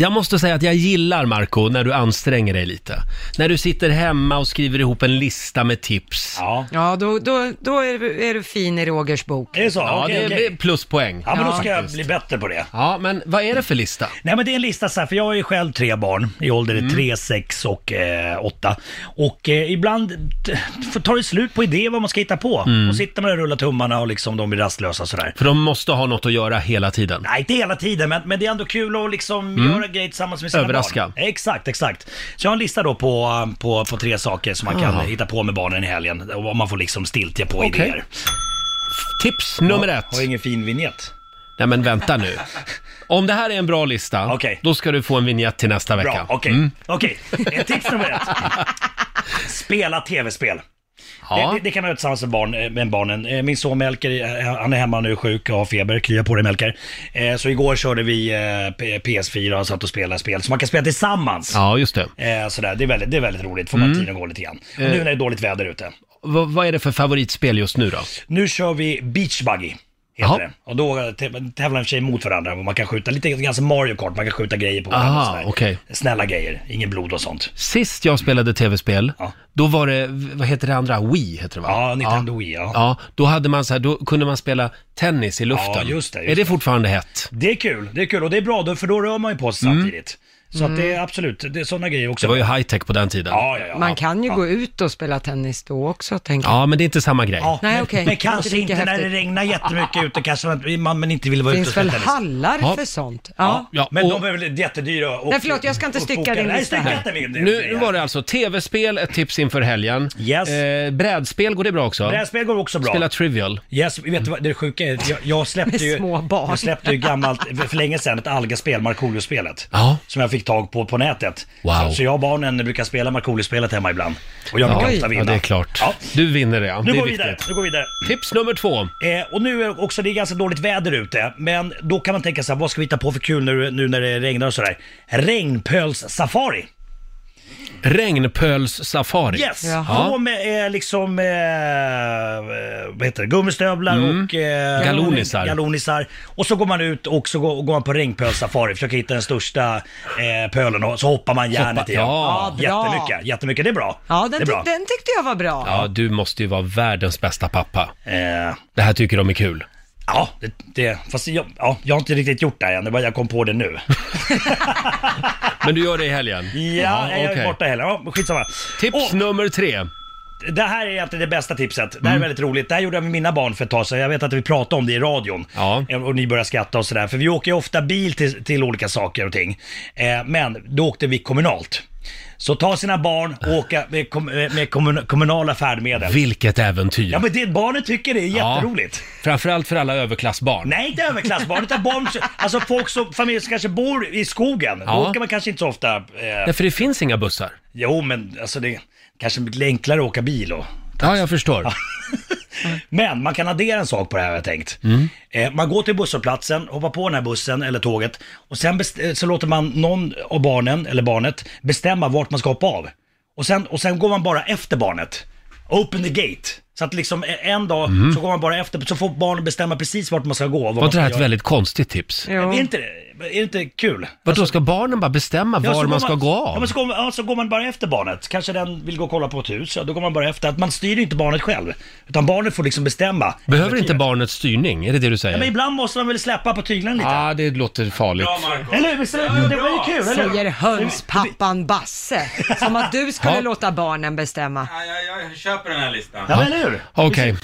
jag måste säga att jag gillar Marco när du anstränger dig lite. När du sitter hemma och skriver ihop en lista med tips. Ja. Ja, då, då, då är, du, är du fin i Rogers bok. Är det så? Ja, okej, det okej. blir pluspoäng. Ja, men då ska jag faktiskt. bli bättre på det. Ja, men vad är det för lista? Nej men det är en lista så här, för jag har ju själv tre barn i ålder Mm. 3, 6 och 8. och eh, ibland t- får- tar det slut på idéer vad man ska hitta på. Mm. Och sitter man där och rullar tummarna och liksom de blir rastlösa sådär. För de måste ha något att göra hela tiden. Nej, inte hela tiden, men, men det är ändå kul att liksom göra grejer tillsammans med sina Mm. Överraska. barn. Exakt, exakt. Så jag har en lista då på, eh, på, på tre saker som man kan Aha. hitta på med barnen i helgen. Och vad man får liksom stiltja på Okej. idéer. Tips nummer Ja, ett. Har ingen fin vignett. Nej men vänta nu. Om det här är en bra lista, Okej. då ska du få en vignett till nästa vecka. Bra, okej. Mm. Okej, Eh, tips nummer ett. Spela tv-spel. Ja. Det, det, det kan man göra tillsammans med, barn, eh, med barnen. Eh, Min son Melker, eh, han är hemma nu sjuk och har feber. Krya på dig Melker. Eh, Så igår körde vi eh, P- PS4 och satt och spelade spel. Så man kan spela tillsammans. Ja, Mm. just det. Eh, Sådär. Det, är väldigt, det är väldigt roligt, får man tiden att gå lite grann. Och Eh. nu när det är dåligt väder ute. V- vad är det för favoritspel just nu då? Nu kör vi Beach Buggy. Jaha. Heter det. Och då eh, tä- tävlar i och för sig mot varandra och man kan skjuta lite grann som Mario Kart, man kan skjuta grejer på varandra. Aha, och sådär. okej. Snälla grejer, ingen blod och sånt. Sist jag spelade tv-spel, Ja. då var det, vad heter det andra? Wii heter det va? Ja, Nintendo Wii, ja. Ja, då, hade man så här, då kunde man spela tennis i luften. Ja, just det, just är det det. fortfarande hett? Det är kul, det är kul och det är bra då, för då rör man ju på sig Mm. samtidigt. Så att det är absolut, det är sådana grejer också. Det var ju high-tech på den tiden. ja, ja, ja. Man kan ju ja. gå ut och spela tennis då också, tänker jag. Ja, men det är inte samma grej. Ja, Nej, men, okej. men Inte kanske lika inte när det häftigt. regnar jättemycket ute, kanske man, man men inte vill vara Det ute och finns väl spela tennis. hallar Ja. för sånt? Ja, Ja. Ja, men och- de är väl jättedyra och, Nej, förlåt, jag ska inte och stycka bokade. din Nej, lista stycka här. inte min. Nu, nu var det alltså tv-spel, ett tips inför helgen. Yes. Eh, brädspel, går det bra också? Brädspel går också bra. Spela trivial. Yes, vet du vad det sjuka är? Jag, jag släppte ju... Med små barn. Jag släppte ju gammalt, för för länge sedan, ett Alga-spel, Markoolio-spelet. Ja. Som jag fick tag på på nätet. Wow. Så, så jag och barnen brukar spela Markoolio-spelet hemma ibland. Och jag brukar Oj. ofta vinna. Ja, det är klart. Ja. Du vinner det, ja. Nu det är går vi vidare, viktigt. nu går vi vidare. Tips nummer två. Eh, och nu är det också, det är ganska dåligt väder ute, men då kan man tänka sig vad ska vi hitta på för kul nu, nu när det regnar och sådär? Regnpöls-safari. Regnpöls-safari. Yes! Jaha. På med eh, liksom, eh, vad heter det, gummistövlar och eh, Mm. Galonisar. galonisar. Och så går man ut och så går, går man på regnpölssafari, försöker hitta den största eh, pölen och så hoppar man järnet Hoppa- i den. ja. Ja, bra. Jättemycket, jättemycket. Det är bra. Ja, det den, är tyck, bra. den tyckte jag var bra. Ja, du måste ju vara världens bästa pappa. Eh, Det här tycker de är kul. ja, det, det, fast jag, ja, jag har inte riktigt gjort det här än, det var, jag kom på det nu. Men du gör det i helgen? Ja, Jaha, jag är okej. borta heller. Ja, skitsamma. Tips Och, nummer tre. det här är egentligen det bästa tipset. Mm. Det här är väldigt roligt. Det här gjorde jag med mina barn för ett tag sedan. Jag vet att vi pratade om det i radion. Ja. Eh, Och ni började skratta och sådär. För vi åker ju ofta bil till, till olika saker och ting. Eh, men då åkte vi kommunalt. Så ta sina barn och åka med, kom, eh, med kommun, kommunala färdmedel. Vilket äventyr! Ja men det barnen tycker det är Ja. jätteroligt. Framförallt för alla överklassbarn. Nej, inte överklassbarn, utan barn, alltså folk som, familjer som kanske bor i skogen. Ja. Då åker man kanske inte så ofta. Eh, Därför det finns inga bussar. jo, men alltså det kanske blir enklare att åka bil och Ja, jag förstår. Men man kan addera en sak på det här har jag tänkt. Mm. Eh, man går till busshållplatsen, hoppar på den här bussen eller tåget och sen best- eh, så låter man någon av barnen, eller barnet, bestämma vart man ska hoppa av. Och sen, och sen går man bara efter barnet. Open the gate. Så att liksom eh, en dag så går man bara efter, så får barnen bestämma precis vart man ska gå. och vad Var man inte ska Mm. det här ett göra. väldigt konstigt tips? Är Jo. inte det, är det inte kul? Vadå, ska barnen bara bestämma alltså- Ja, så var går man ska gå Ja, av? men så går, ja, så går man bara efter barnet. Kanske den vill gå och kolla på ett hus, ja, då går man bara efter. Att man styr inte barnet själv, utan barnet får liksom bestämma. Behöver inte barnet styrning? Är det det du Ja, men säger? ibland måste man väl släppa på tyglarna lite. Ja, ah, det låter farligt. Eller hur? Visst är det- Det var ju kul, eller hur? Säger hönspappan Basse. Som att du skulle Ja. låta barnen bestämma. Ja, jag, jag köper den här listan. Ja, men eller hur? Okej,